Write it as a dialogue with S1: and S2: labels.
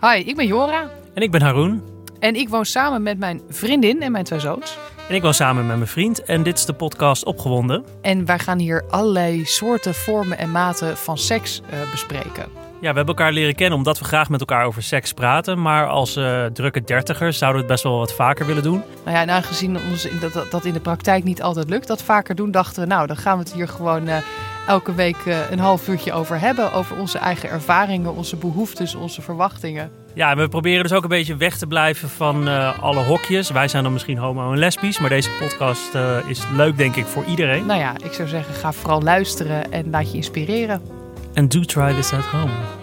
S1: Hi, ik ben Jora
S2: En ik ben Haroon.
S1: en ik woon samen met mijn vriendin en mijn twee zoons.
S2: En ik woon samen met mijn vriend. En dit is de podcast Opgewonden.
S1: En wij gaan hier allerlei soorten, vormen en maten van seks eh, bespreken.
S2: Ja, we hebben elkaar leren kennen omdat we graag met elkaar over seks praten. Maar als eh, drukke dertigers zouden we het best wel wat vaker willen doen.
S1: Nou ja, en aangezien ons in- dat, dat, dat in de praktijk niet altijd lukt, dat vaker doen, dachten we, nou, dan gaan we het hier gewoon eh, elke week eh, een half uurtje over hebben. Over onze eigen ervaringen, onze behoeftes, onze verwachtingen.
S2: Ja, en we proberen dus ook een beetje weg te blijven van eh, alle hokjes. Wij zijn dan misschien homo en lesbisch. Maar deze podcast eh, is leuk, denk ik, voor iedereen.
S1: Nou ja, ik zou zeggen, ga vooral luisteren en laat je inspireren.
S2: En do try this at home.